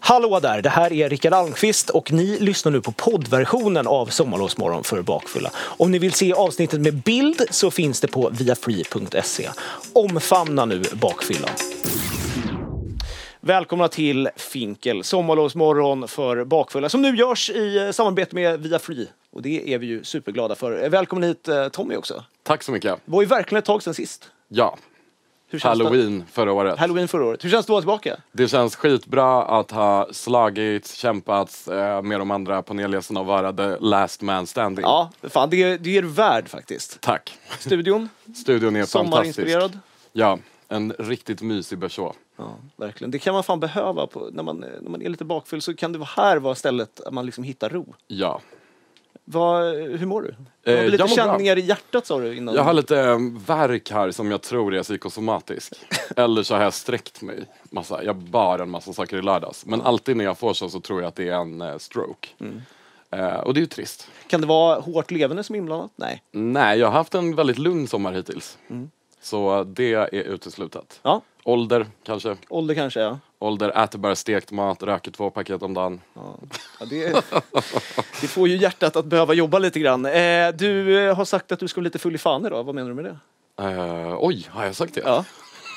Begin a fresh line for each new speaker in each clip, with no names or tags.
Hallå där, det här är Rickard Almqvist och ni lyssnar nu på poddversionen av Sommarlovsmorgon för bakfulla. Om ni vill se avsnittet med bild så finns det på viafree.se. Omfamna nu bakfyllan. Välkomna till Finkel, sommarlovsmorgon för bakfulla som nu görs i eh, samarbete med Viafree. Och det är vi ju superglada för. Välkommen hit eh, Tommy också. Det
Tack så mycket.
var ju verkligen ett tag sedan sist.
Ja.
Hur känns det-
Halloween förra året.
Halloween förra året. Hur känns det att vara tillbaka?
Det känns skitbra att ha slagits, kämpats eh, med de andra panellgästerna och vara the last man standing.
Ja, fan det är, det är värd faktiskt.
Tack.
Studion,
Studion är fantastisk.
sommarinspirerad.
Ja, en riktigt mysig berså.
Ja, verkligen. Det kan man fan behöva. På, när, man, när man är lite bakfull så kan det vara här vara stället att man liksom hittar ro.
Ja.
Vad, hur mår du? Du
Eh,
hade lite
jag mår bra.
känningar i hjärtat sa du innan.
Jag har lite eh, värk här som jag tror är psykosomatisk. Eller så har jag sträckt mig. Massa. Jag bar en massa saker i lördags. Men alltid när jag får så, så tror jag att det är en eh, stroke.
Mm.
Eh, och det är ju trist.
Kan det vara hårt levande som är inblandat? Nej.
Nej, jag har haft en väldigt lugn sommar hittills. Så det är uteslutet.
Ja,
Ålder kanske.
ålder kanske ja.
Ålder, äter bara stekt mat, röker två paket om dagen.
ja. ja det, det får ju hjärtat att behöva jobba lite grann. Eh, du eh, har sagt att du ska bli lite full i fan idag. Vad menar du med det?
Eh, oj, har jag sagt det?
Ja.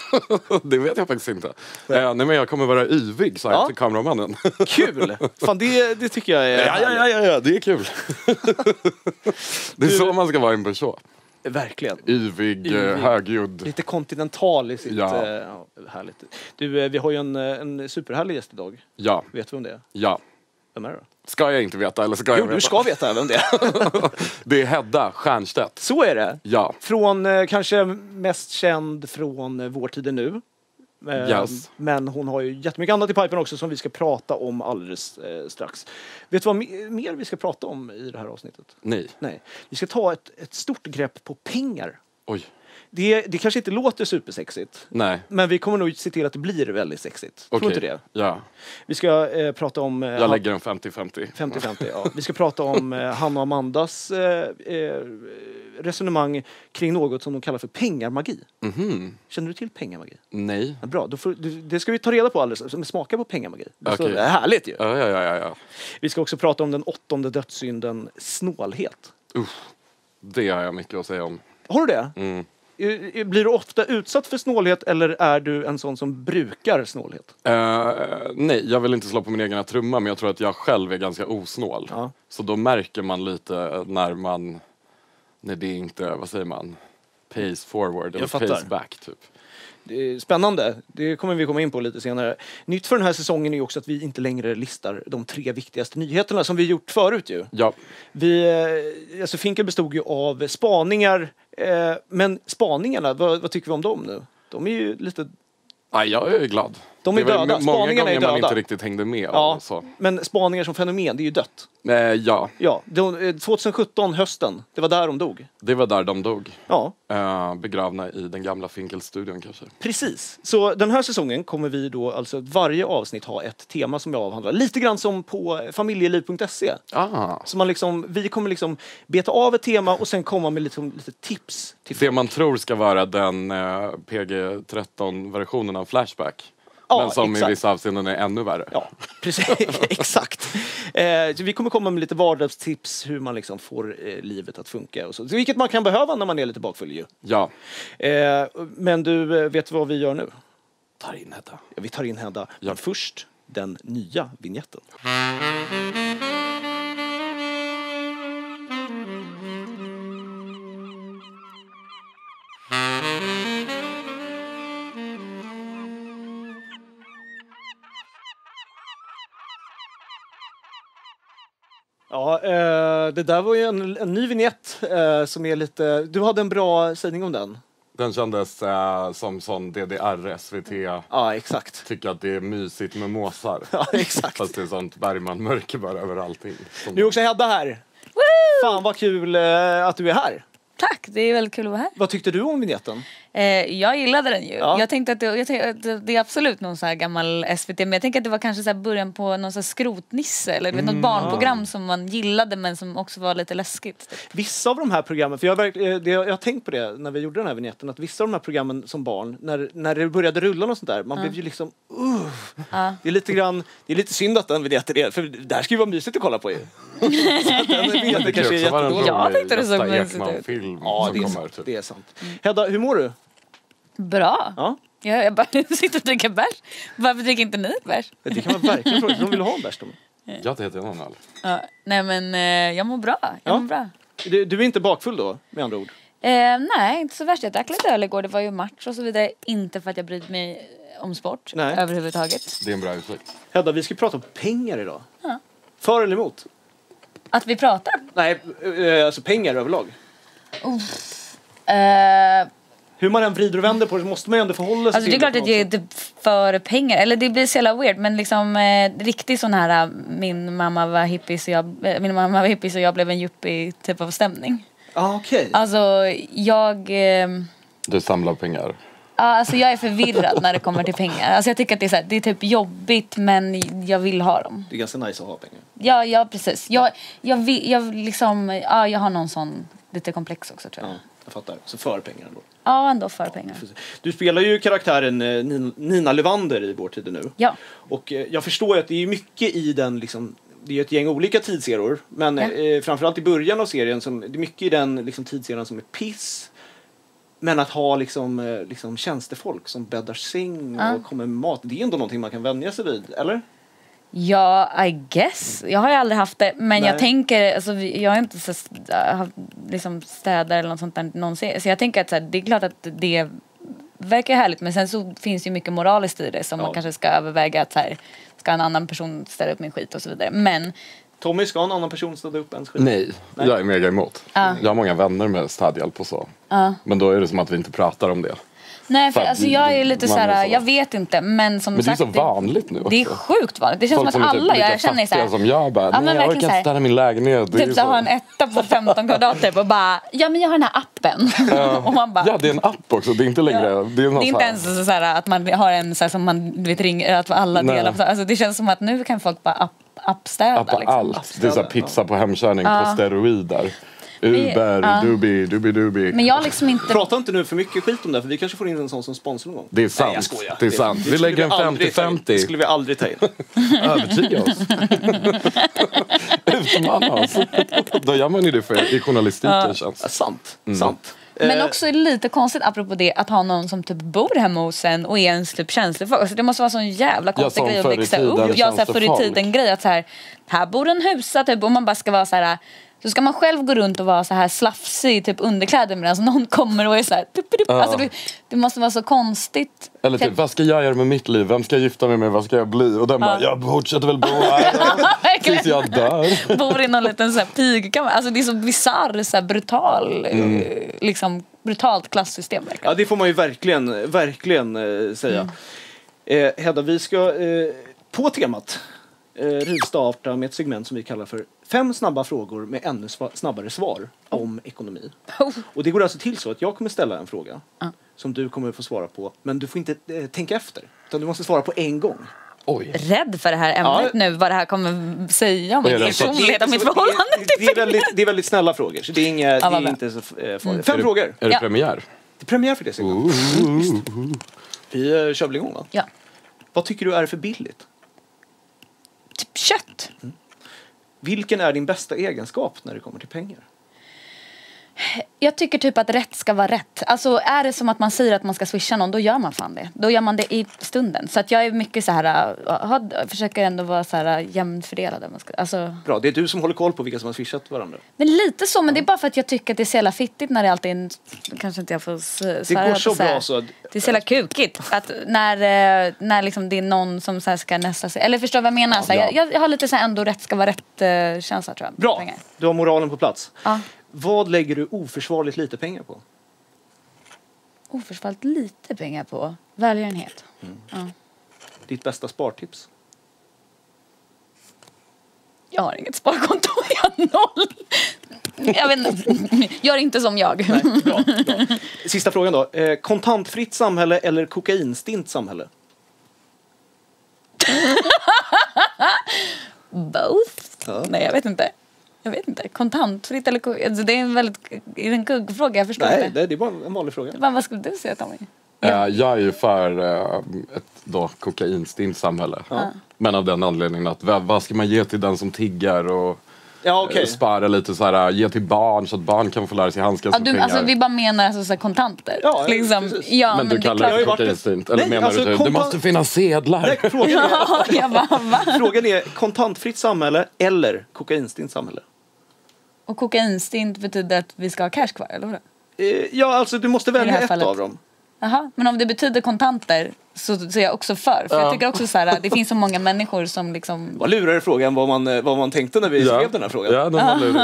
det vet jag faktiskt inte. Eh, nej, men jag kommer vara yvig, sa jag
Ja.
till kameramannen.
Kul! Fan det, det tycker jag är...
ja, ja, ja, ja, ja, det är kul. det är så man ska vara i en person.
Verkligen.
Yvig,
Yvig.
Eh, högljudd.
Lite kontinental i sitt...
Ja.
eh, Ja. härligt. Du, eh, vi har ju en, eh, en superhärlig gäst idag.
Ja,
Vet du vem det är?
ja.
Vem är det då?
Ska jag inte veta, eller ska jag
Jo,
veta?
du ska veta vem det är.
Det är Hedda Stiernstedt.
Så är det.
Ja.
Från, eh, kanske mest känd från eh, Vår tid är nu. Eh,
Yes.
Men hon har ju jättemycket annat i pipen också som vi ska prata om alldeles eh, strax. Vet du vad me- mer vi ska prata om i det här avsnittet?
Nej.
Nej. Vi ska ta ett, ett stort grepp på pengar.
Oj.
Det, det kanske inte låter supersexigt.
Nej.
Men vi kommer nog se till att det blir väldigt sexigt. Tror
Okej.
inte det?
Ja.
Vi ska eh, prata om... eh,
Jag lägger en 50-50.
50-50, ja. Vi ska prata om eh, Hanna och Amandas eh, eh, resonemang kring något som de kallar för pengarmagi.
Mhm.
Känner du till pengarmagi?
Nej.
Ja, bra, då får, du- det ska vi ta reda på alldeles. Men smaka på pengarmagi. Det är så-
Okej.
det är härligt ju.
Ja, ja, ja, ja, ja.
Vi ska också prata om den åttonde dödssynden snålhet.
Det har jag mycket att säga om.
Har du det?
Mm.
Eh, eh, Blir du ofta utsatt för snålhet eller är du en sån som brukar snålhet?
Eh, nej, jag vill inte slå på min egna trumma men jag tror att jag själv är ganska osnål.
Ja.
Så då märker man lite när man, när det inte, vad säger man, pace forward eller
fattar.
pace back typ.
Det är spännande. Det kommer vi komma in på lite senare. Nytt för den här säsongen är ju också att vi inte längre listar de tre viktigaste nyheterna som vi gjort förut ju.
Ja,
Vi, eh, alltså Finkel bestod ju av spaningar, eh, men spaningarna, vad, vad tycker vi om dem nu? De är ju lite...
nej, jag är glad.
De är
det var
döda.
m- många
Spaningarna
gånger
är
man
döda.
inte riktigt hängde med.
Ja,
Ja. Så.
men spaningar som fenomen, det är ju dött.
Eh, ja,
Ja, de, eh, 2017, hösten, det var där de dog.
det var där de dog.
Ja,
Eh, begravna i den gamla Finkelstudion kanske.
precis. Så den här säsongen kommer vi då alltså varje avsnitt ha ett tema som jag avhandlar. Lite grann som på familjeliv.se.
Ah.
Så man liksom, vi kommer liksom beta av ett tema och sen komma med liksom lite tips. Till
Det man tror ska vara den eh, PG-13-versionen av Flashback.
Ja,
men som
exakt.
i vissa avseenden är ännu värre.
Ja, precis. Exakt. Eh, så vi kommer komma med lite vardagstips hur man liksom får eh, livet att funka. Och så. Så Vilket man kan behöva när man är lite bakfull ju.
Ja.
Eh, men du, eh, vet vad vi gör nu?
Tar in detta.
Ja, vi tar in Hedda. Men först den nya vignetten. Ja, eh, det där var ju en, en ny vignett eh, som är lite... Du hade en bra sägning om den.
Den kändes eh, som sån DDR, SVT.
Ja, exakt.
Tycker att det är mysigt med måsar.
Ja, exakt.
Fast det är sånt Bergman-mörker bara över allting. Som-
Nu är också Hedda här. Fan vad kul eh, att du är här.
Tack, det är väldigt kul att vara här.
Vad tyckte du om vignetten?
Eh, jag gillade den ju.
Ja.
Jag tänkte att det, jag tänkte, att det- det är absolut någon så här gammal SVT men jag tänker att det var kanske så här början på någon så här skrotnisse eller du vet,
Mm,
något barnprogram som man gillade men som också var lite läskigt. Typ.
Vissa av de här programmen, för jag, har verk- eh, det, jag har tänkt på det när vi gjorde den här vignetten, att vissa av de här programmen som barn, när, när det började rulla och sånt där, man blev ju liksom uh,
Ja.
det, är lite grann, det är lite synd att den vignetten är, för det här ska ju vara mysigt att kolla på ju. Så att den vignetten kanske är
också vara en
jättedålig.
jättedåligt. Jag
rolig
tyckte det såg
Gösta
mysigt ut.
Ekman-film
Ja, det
som
är
kommer.
sant.
Typ.
Det är sant. Hedda, hur mår du?
Bra!
Ja,
Jag, jag bara sitter och dricker bärs. Varför dricker inte ni bärs?
det kan man verkligen fråga. De vill ha en bärs. de.
Jag heter en annan.
Ja. Nej men eh, jag mår bra. Jag
Ja.
mår bra.
Du, du är inte bakfull då, med andra ord?
Eh, nej, inte så värst. Jag drack lite öl igår. Det var ju match och så vidare. Inte för att jag bryr mig om sport
Nej.
överhuvudtaget.
Det är en bra ursäkt.
Hedda, vi ska prata om pengar idag. För eller emot?
Att vi pratar.
Nej, eh, alltså pengar överlag.
Eh,
Hur man än vrider och vänder på det så måste man ju ändå förhålla sig
Alltså det är
till
klart
på
att jag är
något
typ för pengar, eller det blir så jävla weird men liksom eh, riktig sån här eh, min mamma var hippie så jag, eh, min mamma var hippie så jag blev en yuppie typ av stämning.
sätt. Ah, okej.
Alltså jag, eh,
Du samlar pengar.
ja, alltså jag är förvirrad när det kommer till pengar. Alltså jag tycker att det är, så här, det är typ jobbigt men jag vill ha dem.
Det är ganska nice att ha pengar.
Ja, ja precis. Jag, jag, vill, jag liksom, ja jag har någon sån lite komplex också tror jag.
Ja, jag fattar. Så för pengar ändå.
Ja ändå för pengar.
Du spelar ju karaktären eh, Nin- Nina Levander i Vår tid är nu.
Ja.
Och eh, jag förstår ju att det är mycket i den liksom det är ju ett gäng olika tidseror, men
Ja.
eh, framförallt i början av serien, som, det är mycket i den liksom, tidseran som är piss. Men att ha liksom, eh, liksom, tjänstefolk som bäddar säng och
Ja.
kommer med mat, det är ändå någonting man kan vänja sig vid, eller?
Ja, I guess. Jag har ju aldrig haft det. Men
Nej.
jag tänker, alltså, vi- jag har inte så, st- äh, haft liksom städare eller något sånt där någonsin. Så jag tänker att så här, det är klart att det verkar härligt. Men sen så finns det ju mycket moraliskt i det som
Ja.
man kanske ska överväga att så här, ska en annan person städa upp min skit och så vidare. Men
Tommy, ska en annan person städa upp ens skit?
Nej, jag är mega emot. Jag har många vänner med städhjälp och så. Men då är det som att vi inte pratar om det.
nej, för
Fan,
alltså jag är lite
man
så
är
här,
så.
jag vet inte. Men som
Men det är
sagt,
så vanligt nu också.
det är sjukt vanligt. Det känns som att
är
alla,
typ lika
jag känner så
fattiga
här,
som jag bara,
men
nej jag
verkligen
orkar
så
inte
här.
städa min lägenhet. Det är ju
Typ så ha en etta på 15 kvadrat typ och bara, ja men jag har den här appen. och man bara,
Ja, det är en app också. Det är inte längre...
Ja.
Det är, någon
Det är
så
inte
här-
ens så här att man har en så här som man du vet, ringer, att alla
Nej.
delar på. Alltså, det känns som att nu kan folk bara app, appstäda.
Appa
liksom.
allt. Det är så här pizza på hemkörning på steroider. Uber,
Ja.
Dubi, Dubi Dubi.
Men jag har liksom inte...
Prata inte nu för mycket skit om det här, för vi kanske får in en sån som sponsor någon gång.
Det är sant.
Nej, jag skojar.
Det är sant. Vi
skulle
lägger en
aldrig ta in.
50-50.
Det skulle vi aldrig ta in.
Övertyga oss. Utmana oss. Då gör man ju det för, i journalistiken
Ja,
känns
sant.
Mm.
Sant.
Men
Eh,
också lite konstigt apropå det att ha någon som typ bor hemma hos en och är ens typ känslig alltså, Det måste vara sån jävla konstig
som
grej att
förr i
växa
tiden
upp. Ja, så här, förr i
tjänstefolk.
tiden grej att så här, här bor en husa typ och man bara ska vara så här. Så ska man själv gå runt och vara så här slafsig i typ underkläder medan någon kommer och är så här. Pip, pip. Alltså, det, det måste vara så konstigt.
Eller typ, vad ska jag göra med mitt liv? Vem ska jag gifta mig med? Vad ska jag bli? Och den bara, jag fortsätter väl bo här
Verkligen.
tills jag dör.
bor i någon liten så här pigkammare. Alltså det är så bisarr, så här brutal, eh,
Mm.
liksom brutalt klassystem verkligen.
Ja, det får man ju verkligen, verkligen eh, säga.
Mm.
Eh, Hedda, vi ska eh, på temat eh, rivstarta med ett segment som vi kallar för Fem snabba frågor med ännu sva- snabbare svar om ekonomi.
Oh.
Och det går alltså till så att jag kommer ställa en fråga som du kommer få svara på, men du får inte eh, tänka efter. Utan du måste svara på en gång.
Oj.
Rädd för det här
Ja.
ämnet nu, vad det här kommer säga om
Vad är
min
det?
personlighet och mitt förhållande.
Det, det, är väldigt, det är väldigt snälla frågor, så det är, inga,
vad
det är
bra. Mm.
inte så eh, farligt. Fem frågor.
Är det
Ja.
premiär?
Det är premiär för det segmentet. Vi eh, kör väl igång, va?
Ja.
Vad tycker du är för billigt?
Typ kött.
Vilken är din bästa egenskap när det kommer till pengar?
Jag tycker typ att rätt ska vara rätt. Alltså är det som att man säger att man ska swisha någon, då gör man fan det. Då gör man det i stunden. Så att jag är mycket så här, äh, har, försöker ändå vara så här äh, jämnt fördelad. om man ska- Alltså,
Bra, det är du som håller koll på vilka som har swishat varandra.
Men lite så, men det är bara för att jag tycker att det är så jävla fittigt när det alltid är en... Kanske inte jag får s- svära
går
på
så
här.
bra så att-
Det är så jävla kukigt. Att när eh, när liksom det är någon som så här ska nästa sig. Eller förstår du vad jag menar? Så här,
Ja.
jag- jag, jag har lite så här ändå rätt ska vara rätt-känsla tror jag. med
Bra,
pengar.
du har moralen på plats.
Ja.
Vad lägger du oförsvarligt lite pengar på?
Oförsvarligt lite pengar på välgörenhet. Ja.
Ditt bästa spartips?
Jag har inget sparkonto, jag har noll. Jag vet inte. Gör inte som jag.
Nej, bra, bra. Sista frågan då. Eh, kontantfritt samhälle eller kokainstint samhälle?
Both?
Ja.
Nej, jag vet inte. Jag vet inte. Kontantfritt eller kugg? Alltså, det är en väldigt... Är det en kuggfråga? Jag förstår
Nej,
inte.
det, det är bara en vanlig fråga.
Vad- vad skulle du säga Tommy?
Eh, Jag är ju för eh, ett då, kokainstint samhälle. Men av den anledningen att vad, vad ska man ge till den som tiggar och
Ja,
okay.
okej.
spara lite så här, eh, ge till barn så att barn kan få lära sig handskas
Ja,
med
du,
pengar.
alltså, vi bara menar alltså, så här, kontanter.
Ja, ja,
liksom.
precis.
men,
ja
du
men, det är
kallar
Jag har
det
ju varit
klart.
kokainstint?
en-
Eller
Nej,
menar
alltså,
du
kompa-
det måste finnas sedlar?
Nej, frågan, är,
Ja, jag bara, va?
frågan är kontantfritt samhälle eller kokainstint samhälle?
Och kokainstint betyder att vi ska ha cash kvar, eller vadå?
Eh, ja, alltså du måste
I det
välja
här
ett
fallet.
av dem.
Jaha, men om det betyder kontanter så, så är jag också för. För jag tycker också så här, det finns så många människor som liksom...
Vad lurigare fråga än vad man, eh, vad man tänkte när vi skrev den här frågan.
Ja, den var lurig.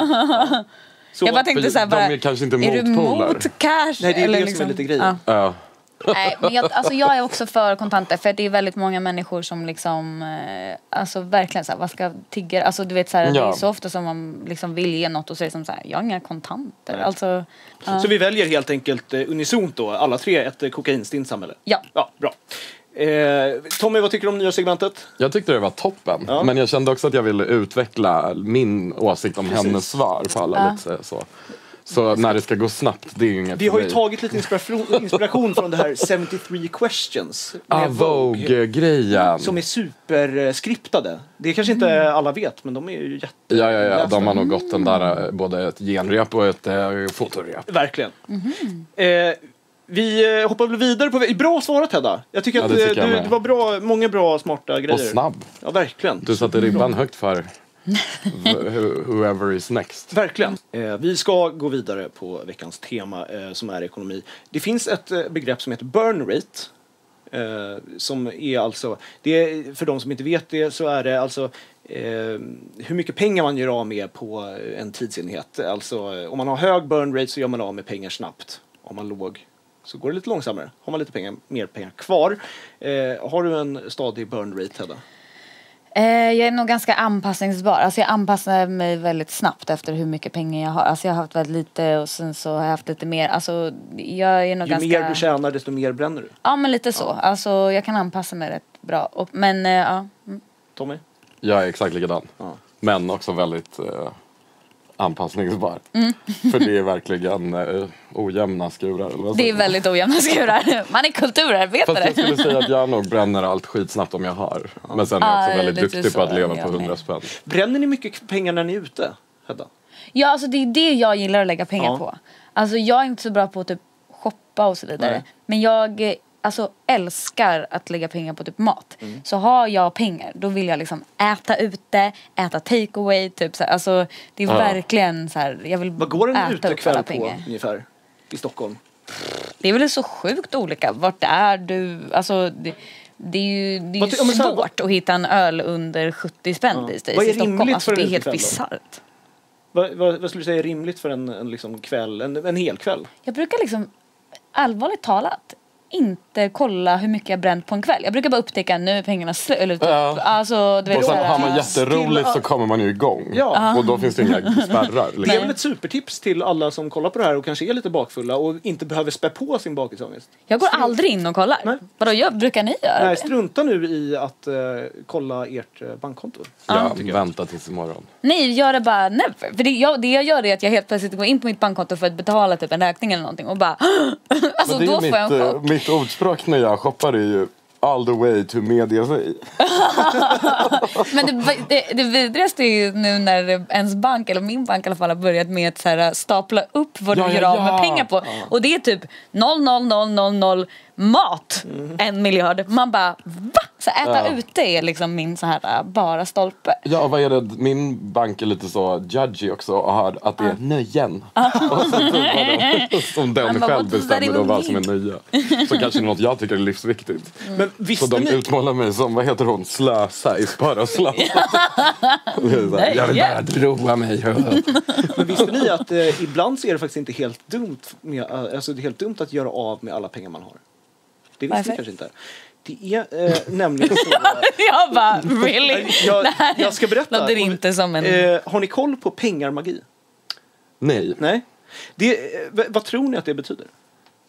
Så,
jag bara tänkte så här,
de
bara,
är kanske inte
är du
motpoler.
mot cash?
Nej, det är
eller
det som är
liksom,
lite grejen.
Ja.
Ja.
Nej, men jag, alltså jag är också för kontanter för det är väldigt många människor som liksom, eh, alltså verkligen såhär, vad ska tigga, alltså du vet såhär, det är
Ja.
så ofta som man liksom vill ge något och säger som såhär, jag har inga kontanter, alltså,
så vi väljer helt enkelt eh, unisont då, alla tre, ett eh, kokainstint samhälle?
ja.
Ja, bra. Eh, Tommy, vad tycker du om nya segmentet?
Jag tyckte det var toppen,
Ja.
men jag kände också att jag ville utveckla min åsikt om hennes svar på alla
Ja.
lite så. Så när det ska gå snabbt, det är ju inget
Vi
för
har ju
mig.
tagit lite inspiration, inspiration från det här 73 questions. med
ah, Vogue-grejen.
Som är superskriptade. Det kanske inte alla vet, men de är ju jätte...
Ja, ja, ja, de har nog gått den där, eh, både ett genrep och ett eh, fotorep.
Verkligen. Eh, vi eh, hoppar väl vidare på... vä- Bra svarat Hedda! Jag tycker
Ja,
att
det
eh,
tycker jag
du,
med.
det var bra, många bra smarta grejer.
Och snabb.
Ja, verkligen.
Du satte ribban högt för wh- whoever is next.
Verkligen. Eh, vi ska gå vidare på veckans tema eh, som är ekonomi. Det finns ett eh, begrepp som heter burn rate. Eh, som är alltså, det är, för de som inte vet det så är det alltså eh, hur mycket pengar man gör av med på en tidsenhet. Alltså eh, om man har hög burn rate så gör man av med pengar snabbt. Om man låg så går det lite långsammare. Har man lite pengar, mer pengar kvar. Eh, har du en stadig burn rate Hedda?
Eh, jag är nog ganska anpassningsbar. Alltså jag anpassar mig väldigt snabbt efter hur mycket pengar jag har. Alltså jag har haft väldigt lite och sen så har jag haft lite mer. Alltså jag är nog
Ju
ganska...
mer du tjänar desto mer bränner du.
Ja men lite så. Alltså jag kan anpassa mig rätt bra. Och, men eh, ja. Mm.
Tommy?
Jag är exakt likadan.
Ja.
Men också väldigt eh, anpassningsbar.
Mm.
För det är verkligen eh, ojämna skurar. eller vad
Det
säger
är
man?
väldigt ojämna skurar. Man är
Fast
kulturarbetare.
jag skulle säga att jag nog bränner allt skitsnabbt om jag har. Men sen är jag
Ah,
också
det är
väldigt
lite
duktig
så
på att leva
jag
på
med.
100 spänn.
Bränner ni mycket pengar när ni är ute Hedda?
Ja alltså det är det jag gillar att lägga pengar
Ja.
på. Alltså jag är inte så bra på att typ shoppa och så vidare.
Nej.
Men jag eh, alltså, älskar att lägga pengar på typ mat.
Mm.
Så har jag pengar då vill jag liksom äta ute, äta takeaway typ så här. Alltså det är
Ja.
verkligen så här. Jag vill
Vad går en
äta upp alla
utekväll på
pengar.
ungefär? I Stockholm?
Det är väl så sjukt olika. Vart är du? Alltså det, det är ju, det är
Vad
ju
ty- ja, men så här,
svårt att hitta en öl under 70 spänn
Ja.
these days
Vad är
i Stockholm.
rimligt
Alltså,
för
det
en
är helt
utekväll då?
bisarrt.
Vad, vad, vad skulle du säga är rimligt för en, en liksom kväll, en, en hel kväll?
Jag brukar liksom, allvarligt talat, inte kolla hur mycket jag bränt på en kväll. Jag brukar bara upptäcka nu är pengarna slut. Eller typ,
Ja.
alltså, du vet,
Och
så
sen har
här,
man jätteroligt så kommer man ju igång.
Ja.
Och då finns det inga spärrar.
Det är väl
Liksom.
ett supertips till alla som kollar på det här och kanske är lite bakfulla och inte behöver spä på sin bakisångest.
jag går aldrig in och kollar.
Nej.
Vadå, jag, brukar ni göra
Nej,
det?
strunta nu i att eh, kolla ert eh, bankkonto.
Ja, vänta tills imorgon.
Nej, jag gör det bara never. För det jag, det jag gör är att jag helt plötsligt går in på mitt bankkonto för att betala typ en räkning eller någonting och bara Alltså
Men det är
då får
ju
jag
mitt,
en
eh,
chock.
mitt ordspråk när jag shoppar är ju all the way to media sig.
Men det, det, det vidrigaste är ju nu när ens bank, eller min bank i alla fall, har börjat med att så här, äh, stapla upp vad
Ja,
du
ja,
gör av
ja.
med pengar på. Och det är typ 00000 mat, en miljard. Man bara va? Så äta
Mm. Ja.
ute är liksom min så här äh, bara stolpe.
Ja, och vad är det? Min bank är lite så judgy också och har att det är nöjen. Och så tror Ah. man det. Som
Man
den
bara,
själv
what does that
bestämmer då
even
vad som är nöje. Så kanske det är något jag tycker är livsviktigt.
Mm.
Men
Så
visste
de
ni,
utmålar mig som, vad heter hon, slösa i Spara slösa. Det är så här, Jag vill bara droa mig.
men visste ni att eh, ibland så är det faktiskt inte helt dumt, med, eh, alltså det är helt dumt att göra av med alla pengar man har. Det visste
Varför?
ni kanske inte. Det är eh, nämligen så...
jag bara really?
Jag,
Det här
jag ska berätta.
låter inte som en...
Eh, har ni koll på pengarmagi?
Nej.
Nej. Det, eh, v- vad tror ni att det betyder?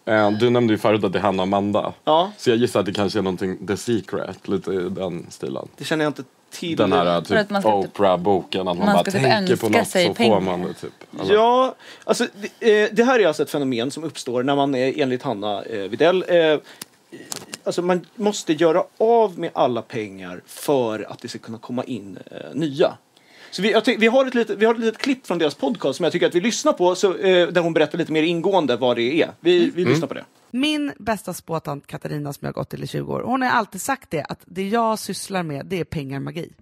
Eh, Du nämnde ju förut att det är Hanna och Amanda.
Ja.
Så jag gissar att det kanske är någonting The Secret, lite i den stilen.
Det känner jag inte till.
Den här
För att
typ
man ska typ-
Oprah-boken, att man,
man
bara
ska typ
tänker på
önska
något
sig
så
pengar.
får man det typ. Eller-
Ja, alltså, det, eh, det här är alltså ett fenomen som uppstår när man eh, enligt Hanna eh, Videll eh, Alltså man måste göra av med alla pengar för att det ska kunna komma in eh, nya. Så vi, jag ty- vi, har ett litet, vi har ett litet klipp från deras podcast som jag tycker att vi lyssnar på så, eh, där hon berättar lite mer ingående vad det är. Vi, vi
Mm.
lyssnar på det.
Min bästa spåtant Katarina som jag har gått till i 20 år, hon har alltid sagt det att det jag sysslar med det är pengarmagi.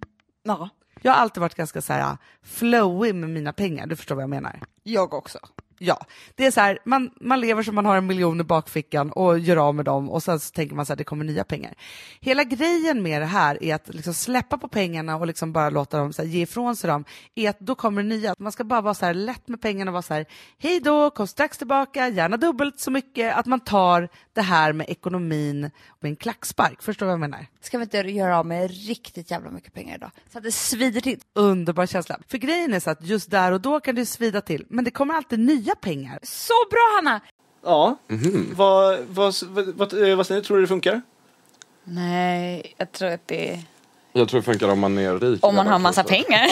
Ja,
Jag har alltid varit ganska så här äh, flowig med mina pengar, du förstår vad jag menar?
jag också.
Ja, det är så här, man, man lever som man har en miljon i bakfickan och gör av med dem och sen så tänker man så här, det kommer nya pengar. Hela grejen med det här är att liksom släppa på pengarna och liksom bara låta dem så här, ge ifrån sig dem, är att då kommer det nya. Man ska bara vara så här lätt med pengarna och vara så här, hej då, kom strax tillbaka, gärna dubbelt så mycket. Att man tar det här med ekonomin med en klackspark, förstår du vad jag menar?
Ska vi inte göra av med riktigt jävla mycket pengar idag? Så att det svider till.
Underbar känsla. För grejen är så att just där och då kan det svida till, men det kommer alltid nya pengar.
Så bra Hanna!
Ja,
Mhm.
vad, vad, vad, vad, eh, vad säger ni? Tror du det funkar?
Nej, jag tror att det är...
Jag tror det funkar om man är rik. typ.
Om man har
redan
massa
kanske.
pengar.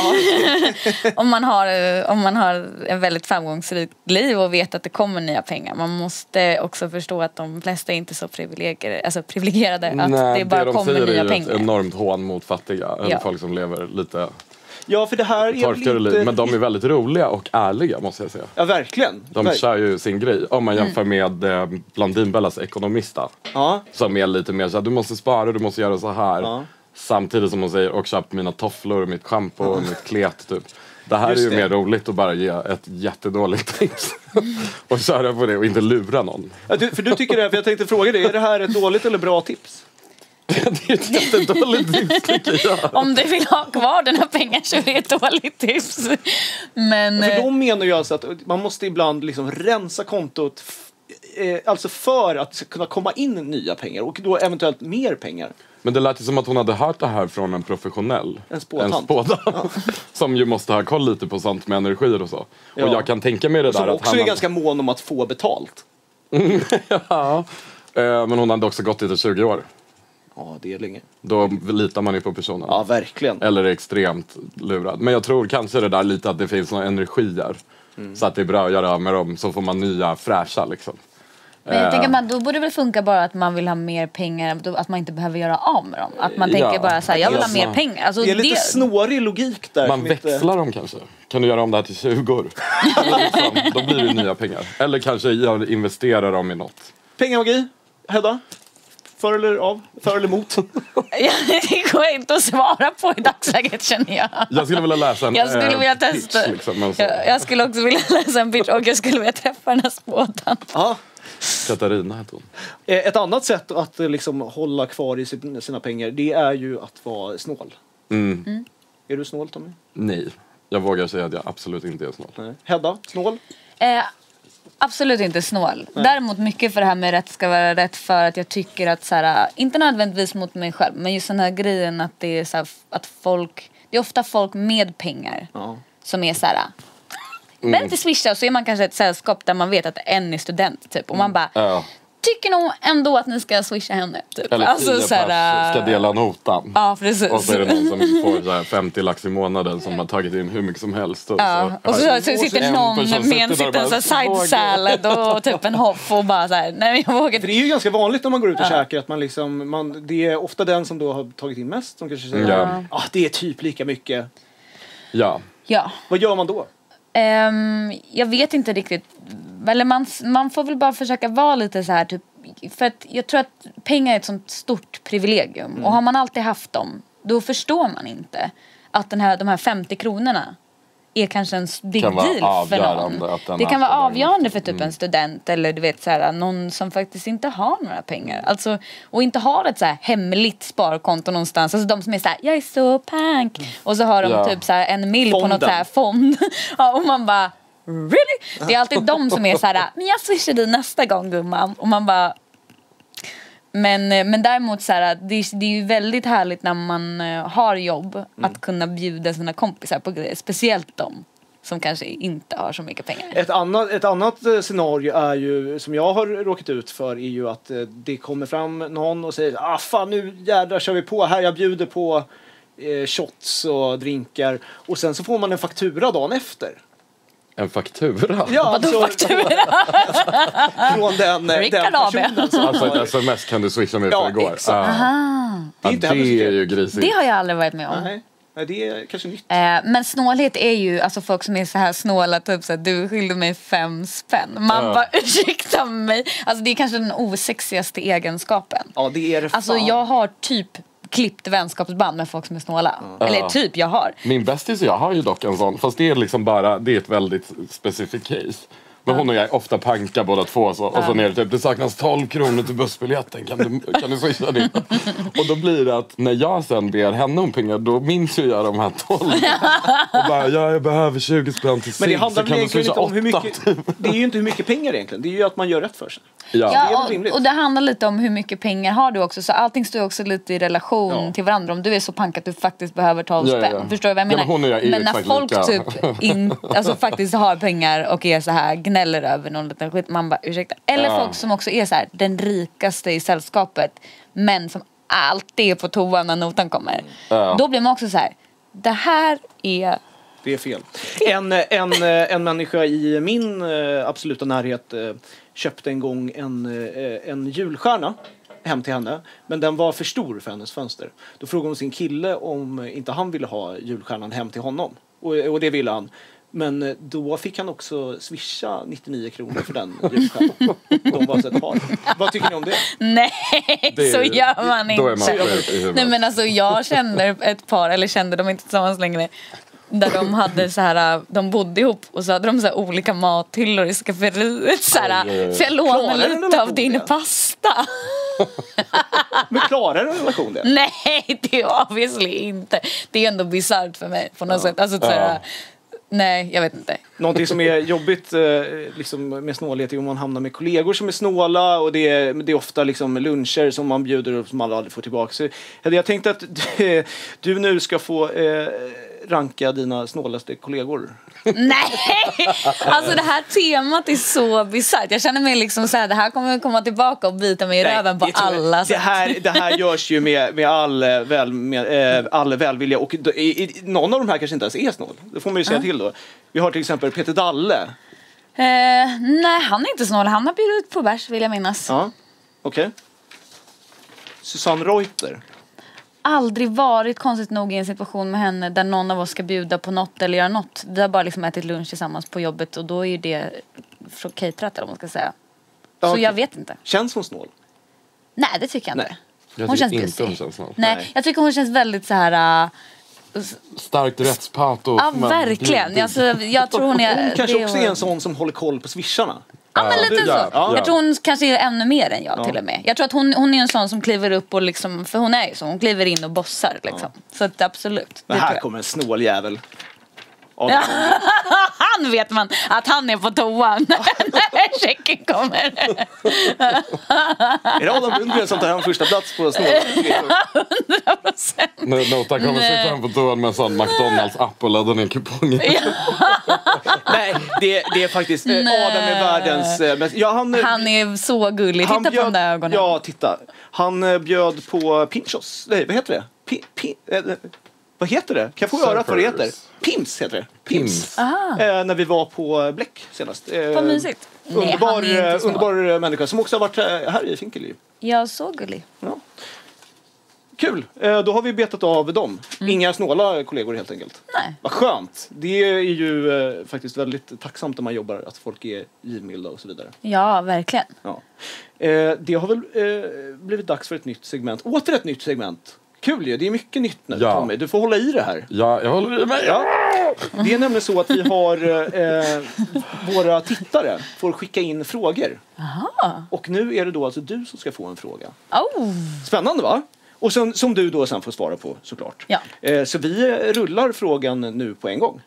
om, man har, eh, om man har en väldigt framgångsrikt liv och vet att det kommer nya pengar. Man måste också förstå att de flesta är inte så privilegierade, alltså privilegierade att
Nej,
det bara
de
kommer
säger är
nya
ju
pengar.
ett enormt hån mot fattiga. Eller
Ja.
folk som lever lite
Ja, för det här är väl
torftigare
inte-
liv. Men de är väldigt roliga och ärliga måste jag säga.
Ja, verkligen.
De
Verk-
kör ju sin grej. Om
Mm.
man jämför med eh, Blondinbellas ekonomista.
Ja.
Som är lite mer såhär, du måste spara, du måste göra så här.
Ja.
Samtidigt som hon säger, och köp mina tofflor, mitt schampo och mitt klet. Typ. Det här
Just
är ju
det.
mer roligt att bara ge ett jättedåligt tips. och köra på det och inte lura någon.
Ja, du, för du tycker det, här, för jag tänkte fråga dig, är det här ett dåligt eller bra tips?
det är ett jättedåligt tips tycker jag.
Om du vill ha kvar dina pengar så är det ett dåligt tips. Men...
För
eh,
de menar ju alltså att man måste ibland liksom rensa kontot f- eh, Alltså för att det ska kunna komma in nya pengar och då eventuellt mer pengar.
Men det lät ju som att hon hade hört det här från en professionell.
En spåtant.
spådam. som ju måste ha koll lite på sånt med energier och så.
Ja.
Och jag kan tänka mig det där
Som
att
också
han...
är ganska mån om att få betalt.
Eh, Men hon hade också gått i det 20 år.
Ja, det är länge.
Då litar man ju på personen.
Ja, verkligen.
Eller är extremt lurad. Men jag tror kanske det där lite att det finns några energier.
Mm.
Så att det är bra att göra av med dem så får man nya fräscha liksom.
Men jag
Eh.
tänker att man, då borde det väl funka bara att man vill ha mer pengar, då- att man inte behöver göra av med dem. Att man
Ja.
tänker bara så här, jag vill ha
Ja,
mer
smart.
pengar. Alltså,
Det är lite snårig logik där.
Man
som inte-
växlar dem kanske. Kan du göra om det här till 20 år? liksom, då blir det nya pengar. Eller kanske jag investerar dem i något.
Pengamagi, Hedda? För eller av? För eller emot?
det går inte att svara på i dagsläget känner jag.
Jag skulle vilja läsa en
Jag skulle
eh,
vilja
pitch,
testa.
liksom, men så,
Jag, jag skulle också vilja läsa en pitch och jag skulle vilja träffa den här spåtant.
Ja.
Katarina hette hon.
Eh, Ett annat sätt att eh, liksom hålla kvar i sin- sina pengar det är ju att vara snål.
Mm.
Är du snål Tommy?
Nej, jag vågar säga att jag absolut inte är snål.
Nej. Hedda, snål?
Eh, absolut inte snål. Däremot mycket för det här med rätt ska vara rätt för att jag tycker att så här, inte nödvändigtvis mot mig själv men just den här grejen att det är så här, att folk, det är ofta folk med pengar
Ja.
som är så här.
Mm.
Behöver inte swisha och så är man kanske ett sällskap där man vet att en är student typ och man bara
Mm. Ja.
Tycker nog ändå att ni ska swisha henne typ.
Eller tio
så här,
pers ska dela notan.
Ja precis.
Och så är det någon som får så här 50 lax i månaden som har tagit in hur mycket som helst. Och
Alltså, Ja, och så, så sitter
en
någon
person
med en
sitter där
sitter
och
så här
bara, "Vågar."
side salad och typ en hopp och bara så här, nej men jag vågar
För
inte.
det är ju ganska vanligt när man går ut och käkar att man liksom, man, det är ofta den som då har tagit in mest som kanske säger
Ja.
ah, det är typ lika mycket.
Ja.
Ja.
Vad gör man då?
Ehm, jag vet inte riktigt. Eller man, man får väl bara försöka vara lite så här typ. För att jag tror att pengar är ett sånt stort privilegium.
Mm.
Och har man alltid haft dem, då förstår man inte att den här, de här 50 kronorna är kanske en s- big
Kan vara
deal för
avgörande att
någon.
den
Det kan
här
vara
får den
avgörande för typ
Mm.
en student eller du vet så här, någon som faktiskt inte har några pengar. Alltså, och inte har ett så här hemligt sparkonto någonstans. Alltså de som är så här, jag är så pank. Och så har de
Mm. Ja.
typ så här en mil på något så
Fonden.
här fond. Ja, och man bara really? Det är alltid de som är så här, men jag swishar dig nästa gång gumman. Och man bara men, men däremot så här, det, är- det är ju väldigt
Mm.
härligt när man eh, har jobb att kunna bjuda sina kompisar på grejer, speciellt dem. som kanske inte har så mycket pengar.
Ett annat, ett annat eh, scenario är ju, som jag har råkat ut för är ju att eh, det kommer fram någon och säger ah fan nu jädrar kör vi på här, jag bjuder på eh, shots och drinkar och sen så får man en faktura dagen efter.
En faktura?
Ja, alltså,
Vadå faktura?
Från den, eh, den
Rickard AB.
personen som
Alltså ett
har-
sms kan du swisha mig
Ja,
för igår.
exakt.
Ah,
Ja,
Det är inte
det är
heller
ju grisigt.
det har jag aldrig varit med om.
Nej, nej, det är kanske nytt.
Eh, men snålhet är ju alltså folk som är så här snåla, typ så här, du skyllde mig fem spänn. Man
Ja.
bara ursäkta mig. Alltså det är kanske den osexigaste egenskapen.
Ja, det är det
Alltså
fan.
jag har typ klippt vänskapsband med folk som är snåla. Eller
Ja.
typ jag har.
Min bästis och jag har ju dock en sån, fast det är liksom bara, det är ett väldigt specifikt case. Men hon och jag är ofta panka båda två så, och sen är det typ det saknas 12 kronor till bussbiljetten, kan du, kan du swisha det? Och då blir det att när jag sen ber henne om pengar då minns ju jag de här 12. Och bara ja, jag behöver 20 spänn till
Men det
sig,
handlar
så
väl
kan du
egentligen inte
swisha
om hur
8?
mycket, det är ju inte hur mycket pengar egentligen, det är ju att man gör rätt för sig.
Ja.
väl
Ja,
rimligt.
och, och det handlar lite om hur mycket pengar har du också. Så allting står ju också lite i relation
Ja.
till varandra. Om du är så pank att du faktiskt behöver 12
Ja, ja,
spänn.
ja.
Förstår du vad jag
Ja,
menar?
men hon och jag är ju
men när
exakt
folk
lika.
typ in, alltså, faktiskt har pengar och är så här gnäller över någon liten skit. Man bara ursäkta. Eller
Ja.
folk som också är så här den rikaste i sällskapet. Men som alltid är på toa när notan kommer.
Ja.
Då blir man också så här. Det här är...
Det är fel. En, eh, en, eh, en människa i min eh, absoluta närhet eh, köpte en gång en, eh, en julstjärna hem till henne, men den var för stor för hennes fönster. Då frågade hon sin kille om inte han ville ha julstjärnan hem till honom, och, eh, och det ville han. Men eh, då fick han också swisha 99 kronor för den julstjärnan. De var alltså ett par. Vad tycker ni om det?
Nej,
Det är-
så gör man inte.
Då är man sjuk i huvudet.
Nej men alltså jag kände ett par, eller kände de är inte tillsammans längre. Där de hade så här, de bodde ihop och så hade de så här olika mathyllor i skafferiet. Så
Oj, oj,
här,
oj.
får jag låna
Klarar den
lite av
relationen?
din pasta?
Men klarar en relation det?
Nej, det är obviously inte. Det är ändå bisarrt för mig på något sätt. Alltså, så här,
Ja.
Nej, jag vet inte.
Någonting som är jobbigt eh, liksom med snålhet är om man hamnar med kollegor som är snåla och det är, det är ofta liksom luncher som man bjuder upp som alla aldrig får tillbaka. Så hade jag tänkt att du, du nu ska få eh, ranka dina snålaste kollegor.
Nej! Alltså det här temat är så bisarrt. Jag känner mig liksom så här, det här kommer komma tillbaka och bita mig i röven på
det tror jag-
alla
det
sätt.
här, det här görs ju med, med, all, eh, väl, med eh, all välvilja och då- i, i, någon av de här kanske inte ens är snål. Det får man ju säga till då. Vi har till exempel Peter Dalle.
Eh, nej, han är inte snål. Han har bjudit på bärs vill jag minnas.
Ja, okej. Susanne Reuter.
Aldrig varit konstigt nog i en situation med henne där någon av oss ska bjuda på något eller göra något. Vi har bara liksom ätit lunch tillsammans på jobbet och då är ju det från caterat eller vad man ska säga.
Ja,
Så
okej.
jag vet inte.
Känns hon snål?
Nej, det tycker jag inte.
Nej.
Jag
Hon
tycker
känns
inte hon
busig.
känns någon.
Nej,
Nej.
jag tycker hon känns väldigt så här... äh,
Starkt rättspatos.
ja,
men-
verkligen. Alltså, jag tror hon är...
Hon kanske
det
också är en sån som håller koll på swisharna.
Ja, men
Ja,
lite
ja,
så.
ja.
Jag tror hon kanske är ännu mer än jag
Ja.
till och med. Jag tror att hon, hon är en sån som kliver upp och liksom, för hon är ju så, hon kliver in och bossar liksom. Så att absolut.
Men
det tror
här
jag.
kommer en snål jävel.
Ja. Han vet man att han är på toa när- när checken kommer.
Är det Adam Lundgren som tar hem första plats på snål?
När Nota kommer sig fram på toan med en sån McDonalds-app och laddar ner kupongen.
Nej, det, det är faktiskt eh, Adam är världens... eh, mest- Ja, han, eh,
Han är så gullig. Titta
han
på de där ögonen.
Ja, titta. Han eh, bjöd på pinchos. Nej, vad heter det? Pi, pi, eh, vad heter det? Kan jag få höra vad det heter?
Surfers.
Pims heter det.
Pims.
Ah.
Eh, när vi var på eh, Bläck senast. Eh,
Vad mysigt. Nej,
Underbar,
han är inte
eh,
snål.
underbar eh, människa som också har varit eh, här i Finkel ju.
Ja, så gullig.
Ja. Kul, Eh, då har vi betat av dem. Inga snåla kollegor helt enkelt.
Nej.
Vad skönt! Det är ju eh, faktiskt väldigt tacksamt när man jobbar att folk är givmilda och så vidare.
Ja, verkligen.
Ja. Eh, Det har väl eh, blivit dags för ett nytt segment. Åter ett nytt segment! Kul ju, det är mycket nytt nu
Ja.
Tommy. Du får hålla i det här.
Ja, jag håller i mig.
Ja. Det är nämligen så att vi har eh, våra tittare får skicka in frågor.
Aha.
Och nu är det då alltså du som ska få en fråga.
Ah. Oh.
Spännande va? Och sen, som du då sen får svara på såklart.
Ja.
Eh, så vi eh, rullar frågan nu på en gång.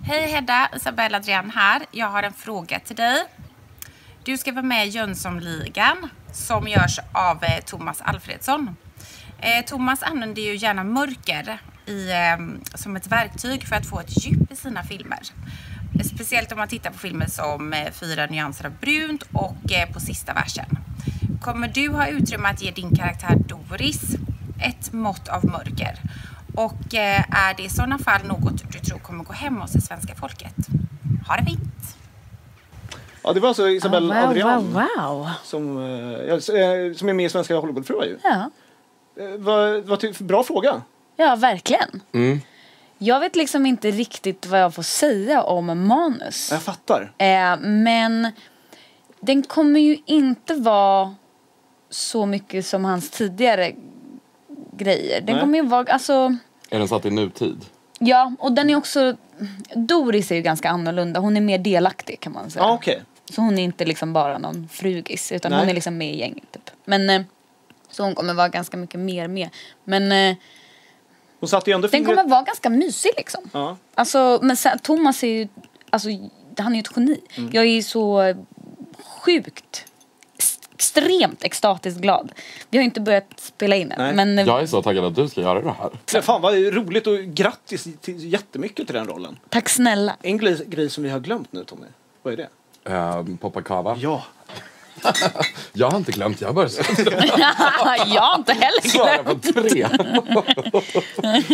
Hej Hedda, Isabella Adrian här. Jag har en fråga till dig. Du ska vara med i Jönssonligan som görs av eh, Thomas Alfredsson. Eh, Thomas använder ju ehm, gärna mörker i, eh, som ett verktyg för att få ett djup i sina filmer. Speciellt om man tittar på filmer som eh, Fyra nyanser av brunt och eh, På sista versen. Kommer du ha utrymme att ge din karaktär Doris ett mått av mörker? Och eh, är det i sådana fall något du tror kommer gå hem hos det svenska folket? Ha det fint!
Ja, det var alltså Isabelle
Ah, wow,
Adrian
wow, wow.
Som, eh, ja, s- eh, som är med i Svenska Hollywoodfruar ju.
Ja.
Eh, vad, vad ty- bra fråga.
Ja, verkligen.
Mm.
Jag vet liksom inte riktigt vad jag får säga om manus.
Jag fattar.
Eh, men den kommer ju inte vara så mycket som hans tidigare grejer. Den
Nej.
kommer ju vara, alltså,
Är den satt i nutid?
ja, och den är också, Doris är ju ganska annorlunda. Hon är mer delaktig kan man säga.
Ja, Ah, okej.
Så hon är inte liksom bara någon frugis utan
Nej.
hon är liksom med i gänget typ. Men, eh, så hon kommer vara ganska mycket mer med. Men eh,
Hon satte ju ändå
den
fingret...
kommer vara ganska mysig liksom.
Ja.
Alltså, men sen, Thomas är ju, alltså, han är ju ett geni.
Mm.
Jag är ju så sjukt, ex- extremt extatiskt glad. Vi har ju inte börjat spela in
Nej.
än. Men, eh,
Jag är så taggad att du ska göra det här.
Ja, Fan vad roligt och grattis till, jättemycket till den rollen.
Tack snälla.
En grej, grej som vi har glömt nu Tommy. Vad är det?
Ehm, poppa kava.
Ja.
Jag har inte glömt, jag har bara
jag har inte heller
svara
glömt.
på tre.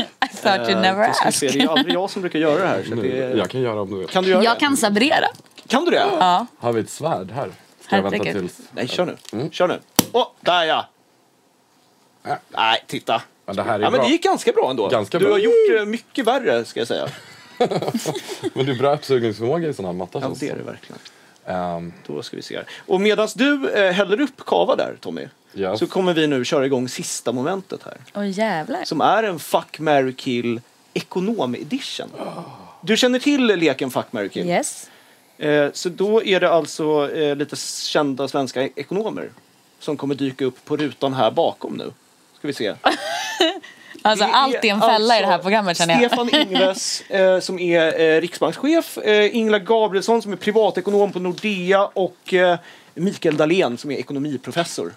I thought you never
Eh, då ska vi se.
asked.
Det är ju aldrig jag som brukar göra det här. Så
Nu,
det är...
jag kan göra om du vill.
Kan du göra
Jag
det?
kan sabrera.
Kan du det?
Ja.
Har vi ett svärd här? Ska jag vänta
Herregud.
tills...
Nej, kör nu.
Mm.
Kör nu. Åh, där ja! Nej, titta.
Äh. Ja, det här är
Ja, men
bra.
det gick ganska bra ändå.
Ganska
du
bra.
har gjort eh, mycket värre ska jag säga.
Men du är bra uppsugningsförmåga i sån här matta.
Ja,
känns
det är det
som.
verkligen.
Ehm,
Då ska vi se här. Och medan du eh, häller upp kava där Tommy.
Ja.
Så kommer vi nu köra igång sista momentet här.
Åh jävlar.
Som är en Fuck, Mary kill ekonom edition.
Ah.
Du känner till leken Fuck, Mary kill?
Yes.
Eh, så då är det alltså eh, lite kända svenska ekonomer som kommer dyka upp på rutan här bakom nu. Ska vi se.
Alltså allt är en fälla i det här
alltså
programmet känner jag.
Stefan Ingves eh, som är eh, riksbankschef, eh, Ingela Gabrielsson som är privatekonom på Nordea och eh, Mikael Dahlén som är ekonomiprofessor.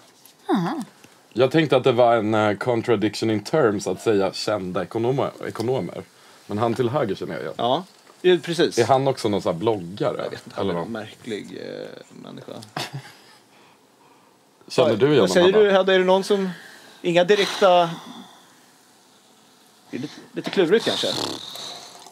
jag tänkte att det var en eh, contradiction in terms att säga kända ekonomer. ekonomer. Men han till höger känner jag igen.
Ja, eh, precis.
Är han också någon sån här bloggare?
Han
Eller
är en
vad?
märklig eh, människa.
Känner du
Vad
igen
säger
honom?
du
Hanna?
Hedda, är det någon som... Inga direkta... Det är lite, lite klurigt kanske.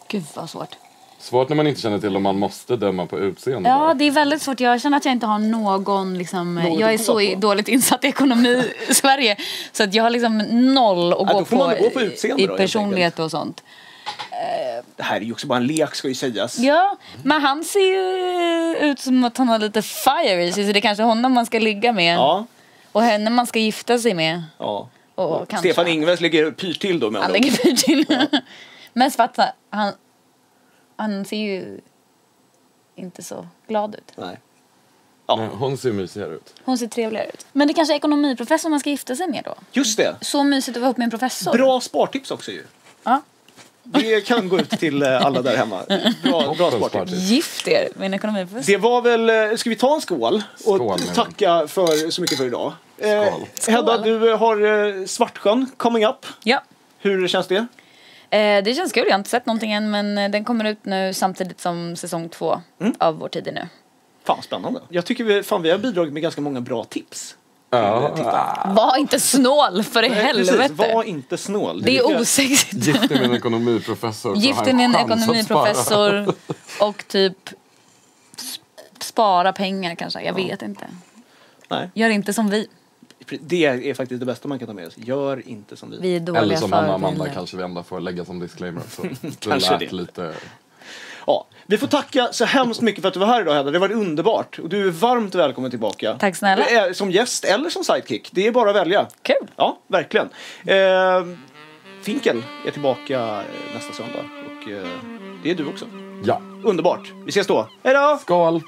Gud vad svårt.
Svårt när man inte känner till om man måste döma på utseende.
Ja,
bara.
det är väldigt svårt. Jag känner att jag inte har någon... Liksom, jag är
att
så
gå
i-
på.
dåligt insatt i ekonomi i Sverige så att jag har liksom noll att
Ja,
gå,
då får
på
man gå på utseende
i
då, helt
personlighet och sånt.
Det här är ju också bara en lek ska ju sägas.
Ja, men han ser ju ut som att han har lite fire i sig så det är kanske honom man ska ligga med
Ja.
och henne man ska gifta sig med.
ja.
Och kanske.
Stefan Ingves ligger pyrt till då med
Han
andra
lägger
ord.
fyr till. Men Svartsa, han, han ser ju inte så glad ut.
Nej.
Nej, Hon ser mysigare ut.
Hon ser trevligare ut. Men det kanske är ekonomiprofessorn man ska gifta sig med då?
Just det.
Så mysigt att vara ihop med en professor.
Bra spartips också ju.
Ja.
Det kan gå ut till eh, alla där hemma. Bra, bra spartips.
Spartips.
Gift er med en ekonomiprofessor.
Det var väl, eh, ska vi ta en skål och
Skål, Mimmi.
tacka för, så mycket för idag. Eh,
Skål.
Hedda, du eh, har eh, Svartsjön coming up.
Ja.
Hur känns det?
Eh, det känns kul. Jag har inte sett någonting än men eh, den kommer ut nu samtidigt som säsong två
Mm.
av Vår tid är nu.
Fan spännande. Jag tycker vi, fan, vi har bidragit med ganska många bra tips.
Ja.
Var inte snål för i
Nej, precis.
helvete.
Var inte snål.
Det
tycker
är
jag-
osexigt.
Gift dig med en ekonomiprofessor. så
Gift
har
er med en
chans att spara.
ekonomiprofessor och typ sp- spara pengar kanske. Jag vet inte.
Nej,
Gör inte som vi.
det är faktiskt det bästa man kan ta med sig. Gör inte som vi.
Vi är dåliga
Eller som Hanna och Amanda
förebilder.
kanske vi ändå får lägga som disclaimer också.
Kanske
det.
det.
lät lite...
Ja, vi får tacka så hemskt mycket för att du var här idag Hedda. Det var underbart. Och du är varmt välkommen tillbaka.
Tack snälla.
Eh, Som gäst eller som sidekick. Det är bara att välja.
Kul.
Ja, verkligen. Eh, Finkel är tillbaka eh, nästa söndag. Och eh, det är du också.
Ja.
Underbart. Vi ses då. Hej då!
Skål!